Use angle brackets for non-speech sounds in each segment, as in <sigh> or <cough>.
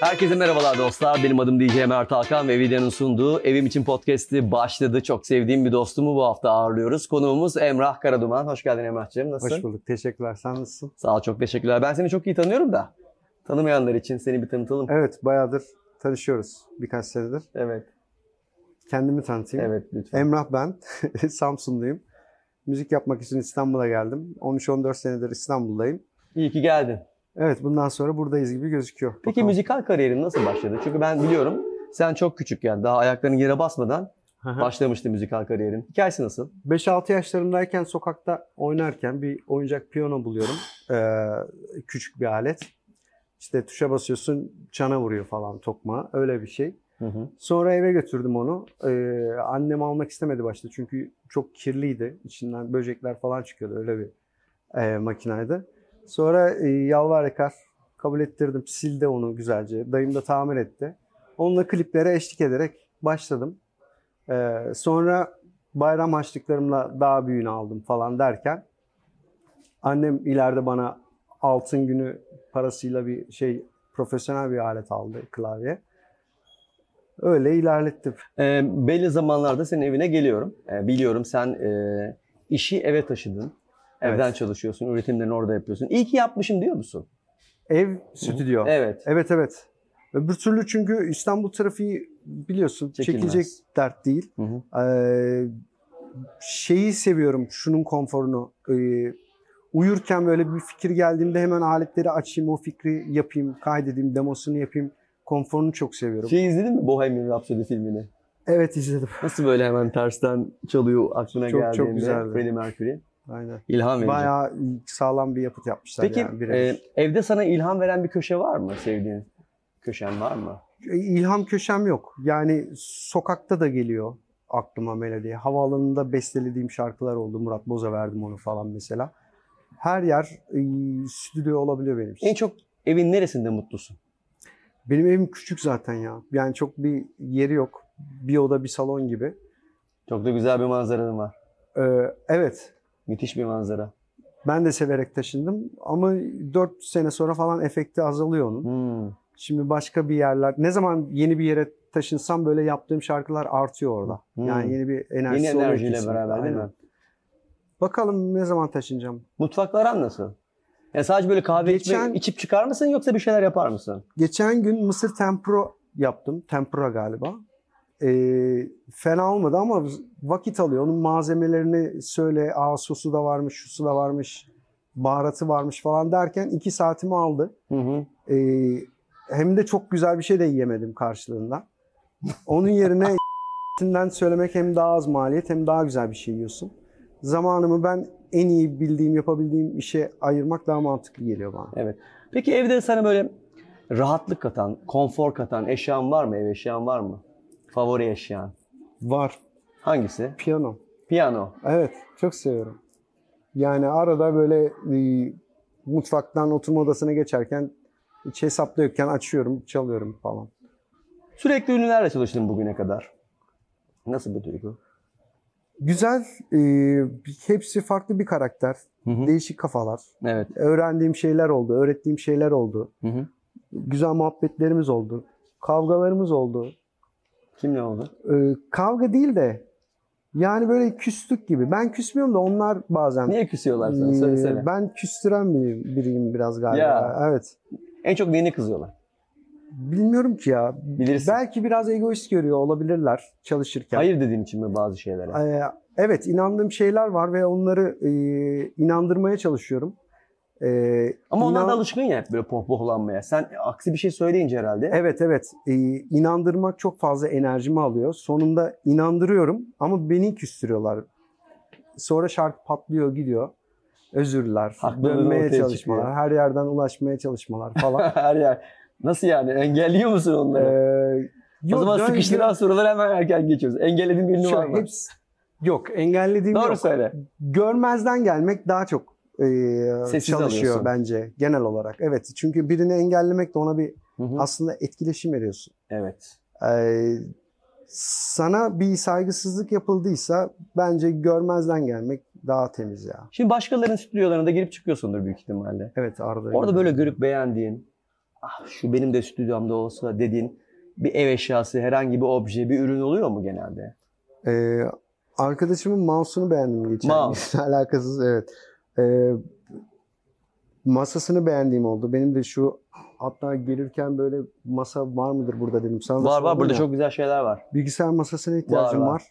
Herkese merhabalar dostlar. Benim adım DJ Mert Hakan ve videonun sunduğu Evim İçin Podcast'i başladı. Çok sevdiğim bir dostumu bu hafta ağırlıyoruz. Konuğumuz Emrah Karaduman. Hoş geldin Emrah'cığım. Nasılsın? Hoş bulduk. Teşekkürler. Sen nasılsın? Sağ ol, çok teşekkürler. Ben seni çok iyi tanıyorum da. Tanımayanlar için seni bir tanıtalım. Evet, bayağıdır tanışıyoruz. Birkaç senedir. Evet. Kendimi tanıtayım. Evet, lütfen. Emrah ben. <laughs> Samsunluyum. Müzik yapmak için İstanbul'a geldim. 13-14 senedir İstanbul'dayım. iyi ki geldin. Evet, bundan sonra buradayız gibi gözüküyor. Peki Bakalım. müzikal kariyerin nasıl başladı? Çünkü ben biliyorum sen çok küçükken daha ayaklarını yere basmadan Aha. başlamıştı müzikal kariyerin. Hikayesi nasıl? 5-6 yaşlarındayken sokakta oynarken bir oyuncak piyano buluyorum. Ee, küçük bir alet. İşte tuşa basıyorsun, çana vuruyor falan tokma. Öyle bir şey. Hı hı. Sonra eve götürdüm onu. Ee, annem almak istemedi başta çünkü çok kirliydi. İçinden böcekler falan çıkıyordu. Öyle bir e, makinaydı. Sonra e, yalvar yakar kabul ettirdim. Sildi onu güzelce. Dayım da tamir etti. Onunla kliplere eşlik ederek başladım. Ee, sonra bayram harçlıklarımla daha büyüğünü aldım falan derken annem ileride bana altın günü parasıyla bir şey profesyonel bir alet aldı klavye. Öyle ilerlettim. Ee, belli zamanlarda senin evine geliyorum. Ee, biliyorum sen e, işi eve taşıdın. Evet. Evden çalışıyorsun, üretimlerini orada yapıyorsun. İyi ki yapmışım diyor musun? Ev stüdyo. Evet. Evet. evet Öbür türlü çünkü İstanbul trafiği biliyorsun Çekilmez. çekilecek dert değil. Hı hı. Ee, şeyi seviyorum şunun konforunu. Ee, uyurken böyle bir fikir geldiğimde hemen aletleri açayım o fikri yapayım kaydedeyim demosunu yapayım. Konforunu çok seviyorum. Şey izledin mi Bohemian Rhapsody filmini? Evet izledim. Nasıl böyle hemen tersten çalıyor aklına Çok- çok geldiğinde güzeldi. Freddie Mercury? Aynen. İlham verici. Bayağı sağlam bir yapıt yapmışlar Peki yani. birebir. e, evde sana ilham veren bir köşe var mı? Sevdiğin köşen var mı? E, İlham köşem yok. Yani sokakta da geliyor aklıma melodi. Havaalanında bestelediğim şarkılar oldu. Murat Boz'a verdim onu falan mesela. Her yer e, stüdyo olabiliyor benim için. En çok evin neresinde mutlusun? Benim evim küçük zaten ya. Yani çok bir yeri yok. Bir oda bir salon gibi. Çok da güzel bir manzaran var. Ee, evet. Müthiş bir manzara. Ben de severek taşındım ama 4 sene sonra falan efekti azalıyor onun. Hmm. Şimdi başka bir yerler. Ne zaman yeni bir yere taşınsam böyle yaptığım şarkılar artıyor orada. Hmm. Yani yeni bir enerjisi Yeni oluyor enerjiyle kesinlikle. beraber değil Aynen. mi? Bakalım ne zaman taşınacağım. Mutfaklar aran nasıl? Yani sadece böyle kahve Geçen- içmek, içip çıkar mısın yoksa bir şeyler yapar mısın? Geçen gün mısır tempura yaptım. Tempura galiba. Ee, fena olmadı ama vakit alıyor. Onun malzemelerini söyle. Aa sosu da varmış, şusu da varmış, baharatı varmış falan derken iki saatimi aldı. Hı hı. Ee, hem de çok güzel bir şey de yiyemedim karşılığında. Onun yerine <laughs> ***'sinden söylemek hem daha az maliyet hem daha güzel bir şey yiyorsun. Zamanımı ben en iyi bildiğim, yapabildiğim işe ayırmak daha mantıklı geliyor bana. Peki evde sana böyle rahatlık katan, konfor katan eşyan var mı? Ev eşyan var mı? Favori eşyan. Var. Hangisi? Piyano. Piyano. Evet, çok seviyorum. Yani arada böyle e, mutfaktan oturma odasına geçerken hiç hesapta yokken açıyorum, çalıyorum falan. Sürekli ünlülerle çalıştın bugüne kadar. Nasıl bir duygu? Güzel, e, hepsi farklı bir karakter, Hı hı. değişik kafalar. Evet. Öğrendiğim şeyler oldu, öğrettiğim şeyler oldu. Hı hı. Güzel muhabbetlerimiz oldu, kavgalarımız oldu. Kimle oldu? E, kavga değil de yani böyle küslük gibi. Ben küsmüyorum da onlar bazen. Niye küsüyorlar sana? Söyle e, söyle. Ben küstüren bir, biriyim biraz galiba. Ya. Evet. En çok neyine kızıyorlar? Bilmiyorum ki ya. Bilirsin. Belki biraz egoist görüyor olabilirler çalışırken. Hayır dediğim için mi bazı şeylere? Ee, evet inandığım şeyler var ve onları e, inandırmaya çalışıyorum. Ee, Ama onlar inan- da alışkın ya hep böyle pohpohlanmaya. Sen aksi bir şey söyleyince herhalde. Evet evet Ee, inandırmak çok fazla enerjimi alıyor. Sonunda inandırıyorum ama beni küstürüyorlar. Sonra şarkı patlıyor gidiyor. Özürler, Haklıları dönmeye ortaya çalışmalar, çıkıyor. her yerden ulaşmaya çalışmalar falan. <laughs> Her yer. Nasıl yani? Engelliyor musun ee, onları? o yok, zaman dön- sıkıştıran soruları hemen erken geçiyoruz. Engellediğin birini var Şöyle, mı? hepsi- Yok engellediğim Doğru yok. söyle. görmezden gelmek daha çok e, Sessiz çalışıyor alıyorsun. bence genel olarak. Evet çünkü birini engellemek de ona bir Hı hı. aslında etkileşim veriyorsun. Evet. Ee, sana bir saygısızlık yapıldıysa bence görmezden gelmek daha temiz ya. Şimdi başkalarının stüdyolarına da girip çıkıyorsundur büyük ihtimalle. Evet arada. Orada böyle görüp beğendiğin, "Ah, şu benim de stüdyomda olsa dediğin bir ev eşyası, herhangi bir obje, bir ürün oluyor mu genelde? Ee, arkadaşımın mouse'unu beğendim geçen. Mouse. gün. <laughs> Alakasız evet. Ee, masasını beğendiğim oldu. Benim de şu hatta gelirken böyle masa var mıdır burada dedim. Sana da Var var sordum burada ya. çok güzel şeyler var. Bilgisayar masasına ihtiyacım Var, var. var.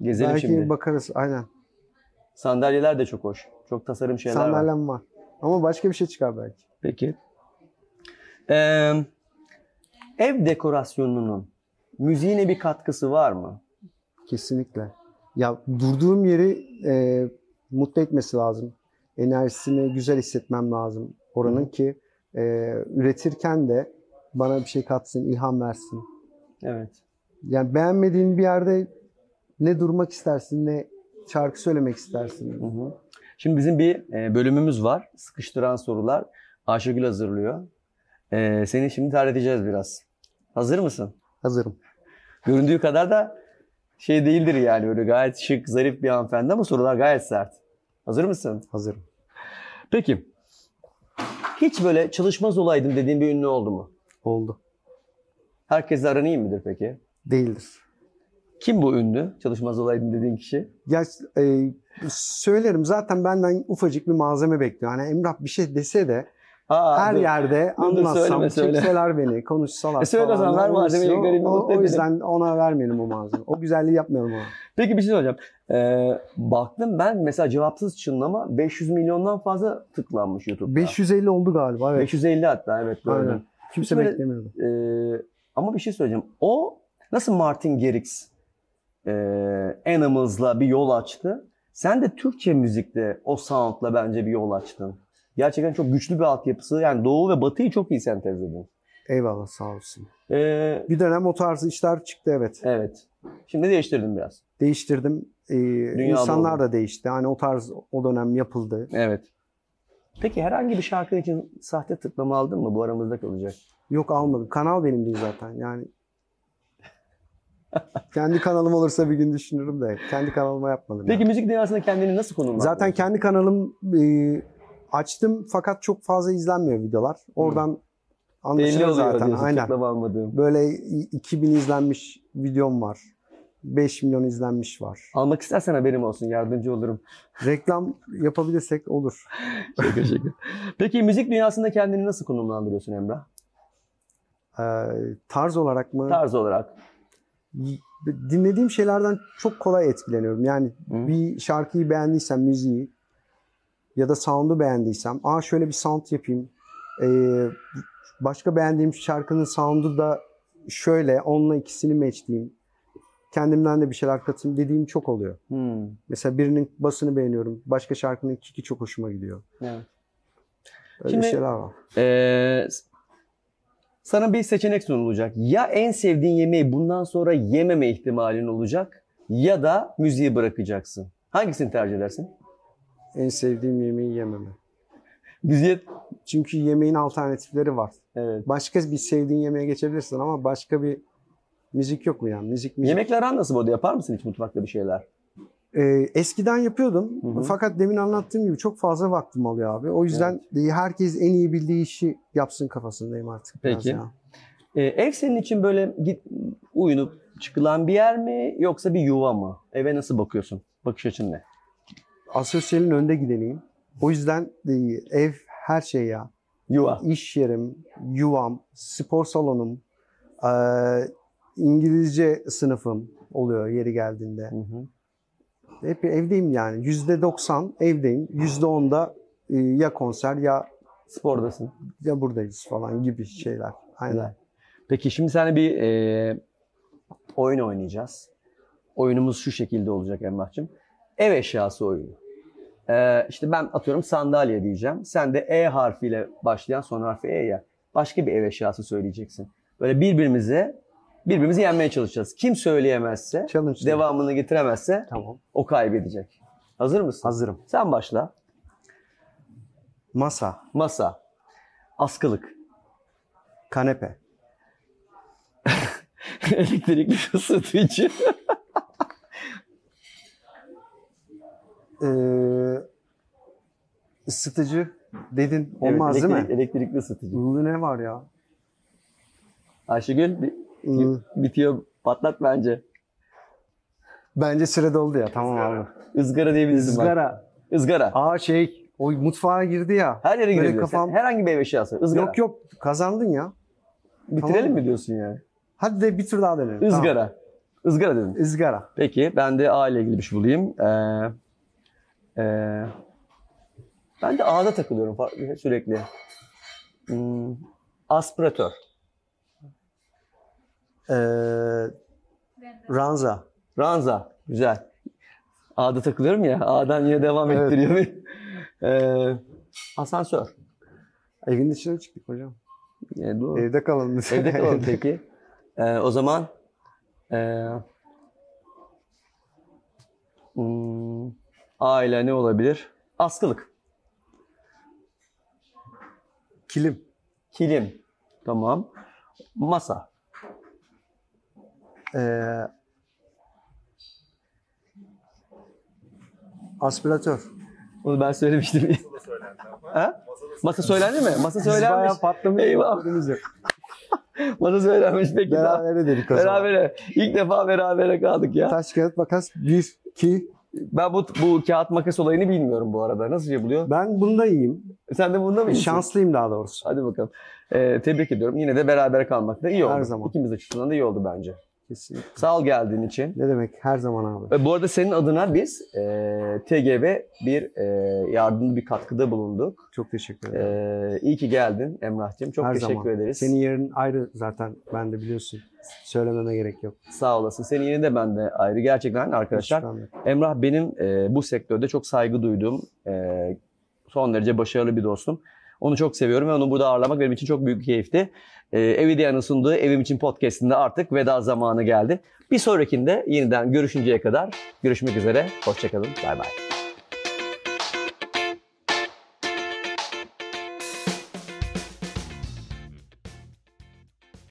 Gezelim Belki şimdi. bakarız aynen. Sandalyeler de çok hoş. Çok tasarım şeyler var. Sandalyem var. Ama başka bir şey çıkar belki. Peki. Ee, ev dekorasyonunun müziğine bir katkısı var mı? Kesinlikle. Ya durduğum yeri e, mutlu etmesi lazım. Enerjisini güzel hissetmem lazım oranın ki e, üretirken de bana bir şey katsın, ilham versin. Evet. Yani beğenmediğin bir yerde ne durmak istersin ne şarkı söylemek Hı istersin. hı. Şimdi bizim bir e, bölümümüz var. Sıkıştıran sorular. Ayşegül hazırlıyor. E, seni şimdi terleteceğiz biraz. Hazır mısın? Hazırım. Göründüğü kadar da şey değildir yani öyle gayet şık, zarif bir hanımefendi ama sorular gayet sert. Hazır mısın? Hazırım. Peki. Hiç böyle çalışmaz olaydım dediğin bir ünlü oldu mu? Oldu. Herkesle aran iyi midir peki? Değildir. Kim bu ünlü? Çalışmaz olaydım dediğin kişi. Ya e, söylerim zaten benden ufacık bir malzeme bekliyor. Hani Emrah bir şey dese de Aa, her dur. yerde dur, söyleme, anlatsam, söyle. çekseler beni, konuşsalar E söyle o falan, zaman, ver ne olursa malzemeyi, o- garibi mutlu O, edelim. o yüzden ona vermeyelim o malzemeyi. O güzelliği yapmayalım ona. Peki bir şey soracağım. Ee, baktım ben mesela cevapsız çınlama 500 milyondan fazla tıklanmış YouTube'da. 550 oldu galiba evet. 550 hatta evet gördüm. Aynen. Kimse Böyle- beklemiyordu. Ee, ama bir şey söyleyeceğim. O nasıl Martin Garrix ee, Animals'la bir yol açtı. Sen de Türkçe müzikte o soundla bence bir yol açtın. Gerçekten çok güçlü bir altyapısı. Yani Doğu ve Batı'yı çok iyi sentezledin. Eyvallah sağ olsun. Ee, Bir dönem o tarz işler çıktı evet. evet. Şimdi değiştirdim biraz. Değiştirdim. Ee, insanlar da değişti. Hani o tarz o dönem yapıldı. Evet. Peki herhangi bir şarkı için sahte tıklama aldın mı? Bu aramızda kalacak. Yok almadım. Kanal benim değil zaten. Yani kendi kanalım olursa bir gün düşünürüm de kendi kanalıma yapmadım. yani. Peki müzik dünyasında kendini nasıl konumlandırdın? Zaten kendi kanalım e, açtım fakat çok fazla izlenmiyor videolar. Oradan Hmm. belli anlaşılıyor oluyor zaten. diyorsun, Aynen. tıklama almadığım. Böyle i- 2000 izlenmiş videom var. 5 milyon izlenmiş var. Almak istersen haberim olsun yardımcı olurum. Reklam yapabilirsek olur. Şaka şaka. Peki müzik dünyasında kendini nasıl konumlandırıyorsun Emrah? Ee, tarz olarak mı? Tarz olarak. Y- Dinlediğim şeylerden çok kolay etkileniyorum. Yani Hı? bir şarkıyı beğendiysem, müziği ya da sound'u beğendiysem, aa şöyle bir sound yapayım. Ee, başka beğendiğim şarkının sound'u da şöyle, onunla ikisini matchleyeyim. Kendimden de bir şeyler katayım dediğim çok oluyor. Hmm, Mesela birinin basını beğeniyorum, başka şarkının kiki çok hoşuma gidiyor. evet. Öyle Şimdi- şeyler var. Ee, s- sana bir seçenek sunulacak. Ya en sevdiğin yemeği bundan sonra yememe ihtimalin olacak ya da müziği bırakacaksın. Hangisini tercih edersin? En sevdiğim yemeği yememe. Müziği... Çünkü yemeğin alternatifleri var. Evet. Başka bir sevdiğin yemeğe geçebilirsin ama başka bir müzik yok mu yani? Müzik, müzik. Yemekle aran nasıl bu arada? Yapar mısın hiç mutfakta bir şeyler? Ee, eskiden yapıyordum. Hı hı. Fakat demin anlattığım gibi çok fazla vaktim alıyor abi. O yüzden e, herkes en iyi bildiği işi yapsın kafasındayım artık. biraz Peki. ya. Ee, ev senin için böyle git, uyunup çıkılan bir yer mi yoksa bir yuva mı? Eve nasıl bakıyorsun? Bakış açın ne? Asosyalin önde gideneyim. O yüzden e, ev her şey ya. Yuva. İş yerim, yuvam, spor salonum, e, İngilizce sınıfım oluyor yeri geldiğinde. Hı hı. Hep evdeyim yani. Yüzde doksan evdeyim. Yüzde onda e, ya konser ya Spordasın. ya buradayız falan gibi şeyler. Aynen. Güzel. Peki şimdi seninle bir e, oyun oynayacağız. Oyunumuz şu şekilde olacak Emrah'cığım. Ev eşyası oyunu. Ee, işte ben atıyorum sandalye diyeceğim. Sen de E harfiyle başlayan son harfi E ya. Başka bir ev eşyası söyleyeceksin. Böyle birbirimize birbirimizi yenmeye çalışacağız. Kim söyleyemezse, Challenge. devamını getiremezse Tamam. O kaybedecek. Hazır mısın? Hazırım. Sen başla. Masa, Masa. Askılık. <laughs> kanepe, Elektrikli ısıtıcı. ee, ısıtıcı dedin olmaz Evet, değil mi? elektrik- Elektrikli ısıtıcı. Bu ne var ya? Ayşegül bi- Hmm, bitiyor. Patlat bence. Bence süre doldu ya tamam Izgara. abi. Izgara diyebilirsin bak. Izgara. Izgara. Aa şey o mutfağa girdi ya. Her yere Böyle girebilirsin. kafam- Herhangi bir ev eşyası. Izgara. Yok yok kazandın ya. Bitirelim tamam. mi diyorsun yani? Hadi de bir tur daha denelim. Izgara. Izgara dedim. Tamam. Izgara. Peki ben de A ile ilgili bir şey bulayım. Ee, e, ben de A'da takılıyorum fa- sürekli. Hmm, aspiratör. Ee, ranza. Ranza. Güzel. A'da takılıyorum ya. A'dan yine devam Evet. ettiriyor beni. Ee, asansör. Evin dışına çıktık hocam. Yani doğru. Evde kalalım. biz. Evde kalalım peki. Ee, o zaman ee, hmm, A ile ne olabilir? Askılık. <laughs> Kilim. Kilim. Tamam. Masa. Ee, aspiratör. Onu ben söylemiştim. Masada söylendi ama. ha? Masada Masa söylendi mi? Masa Biz bayağı söylenmiş. patlamış. Eyvah. haberimiz yok. Masa söylenmiş. Peki daha. Berabere dedik o zaman. Berabere. İlk defa berabere kaldık ya. Taş kağıt makas 1, 2. Ben bu, bu kağıt makas olayını bilmiyorum bu arada. Nasıl yapılıyor? Ben bunda iyiyim. Sen de bunda mısın? Şanslıyım daha doğrusu. Hadi bakalım. Ee, tebrik ediyorum. Yine de berabere kalmak da iyi oldu. Her zaman. İkimiz açısından da iyi oldu bence. Kesin. Sağ ol geldiğin için. Ne demek her zaman abi. Ve bu arada senin adına biz e, TGB bir e, yardımcı bir katkıda bulunduk. Çok teşekkür ederim. E, iyi ki geldin Emrah'cığım. Çok Her teşekkür zaman. ederiz. Senin yerin ayrı zaten ben de biliyorsun. Söylememe gerek yok. Sağ olasın. Senin yine de ben de ayrı. Gerçekten arkadaşlar Hiç ben de. Emrah benim e, bu sektörde çok saygı duyduğum e, son derece başarılı bir dostum. Onu çok seviyorum ve onu burada ağırlamak benim için çok büyük keyifti. E, Evidea'nın sunduğu Evim İçin Podcast'inde artık veda zamanı geldi. Bir sonrakinde yeniden görüşünceye kadar görüşmek üzere. Hoşçakalın. Bay bay.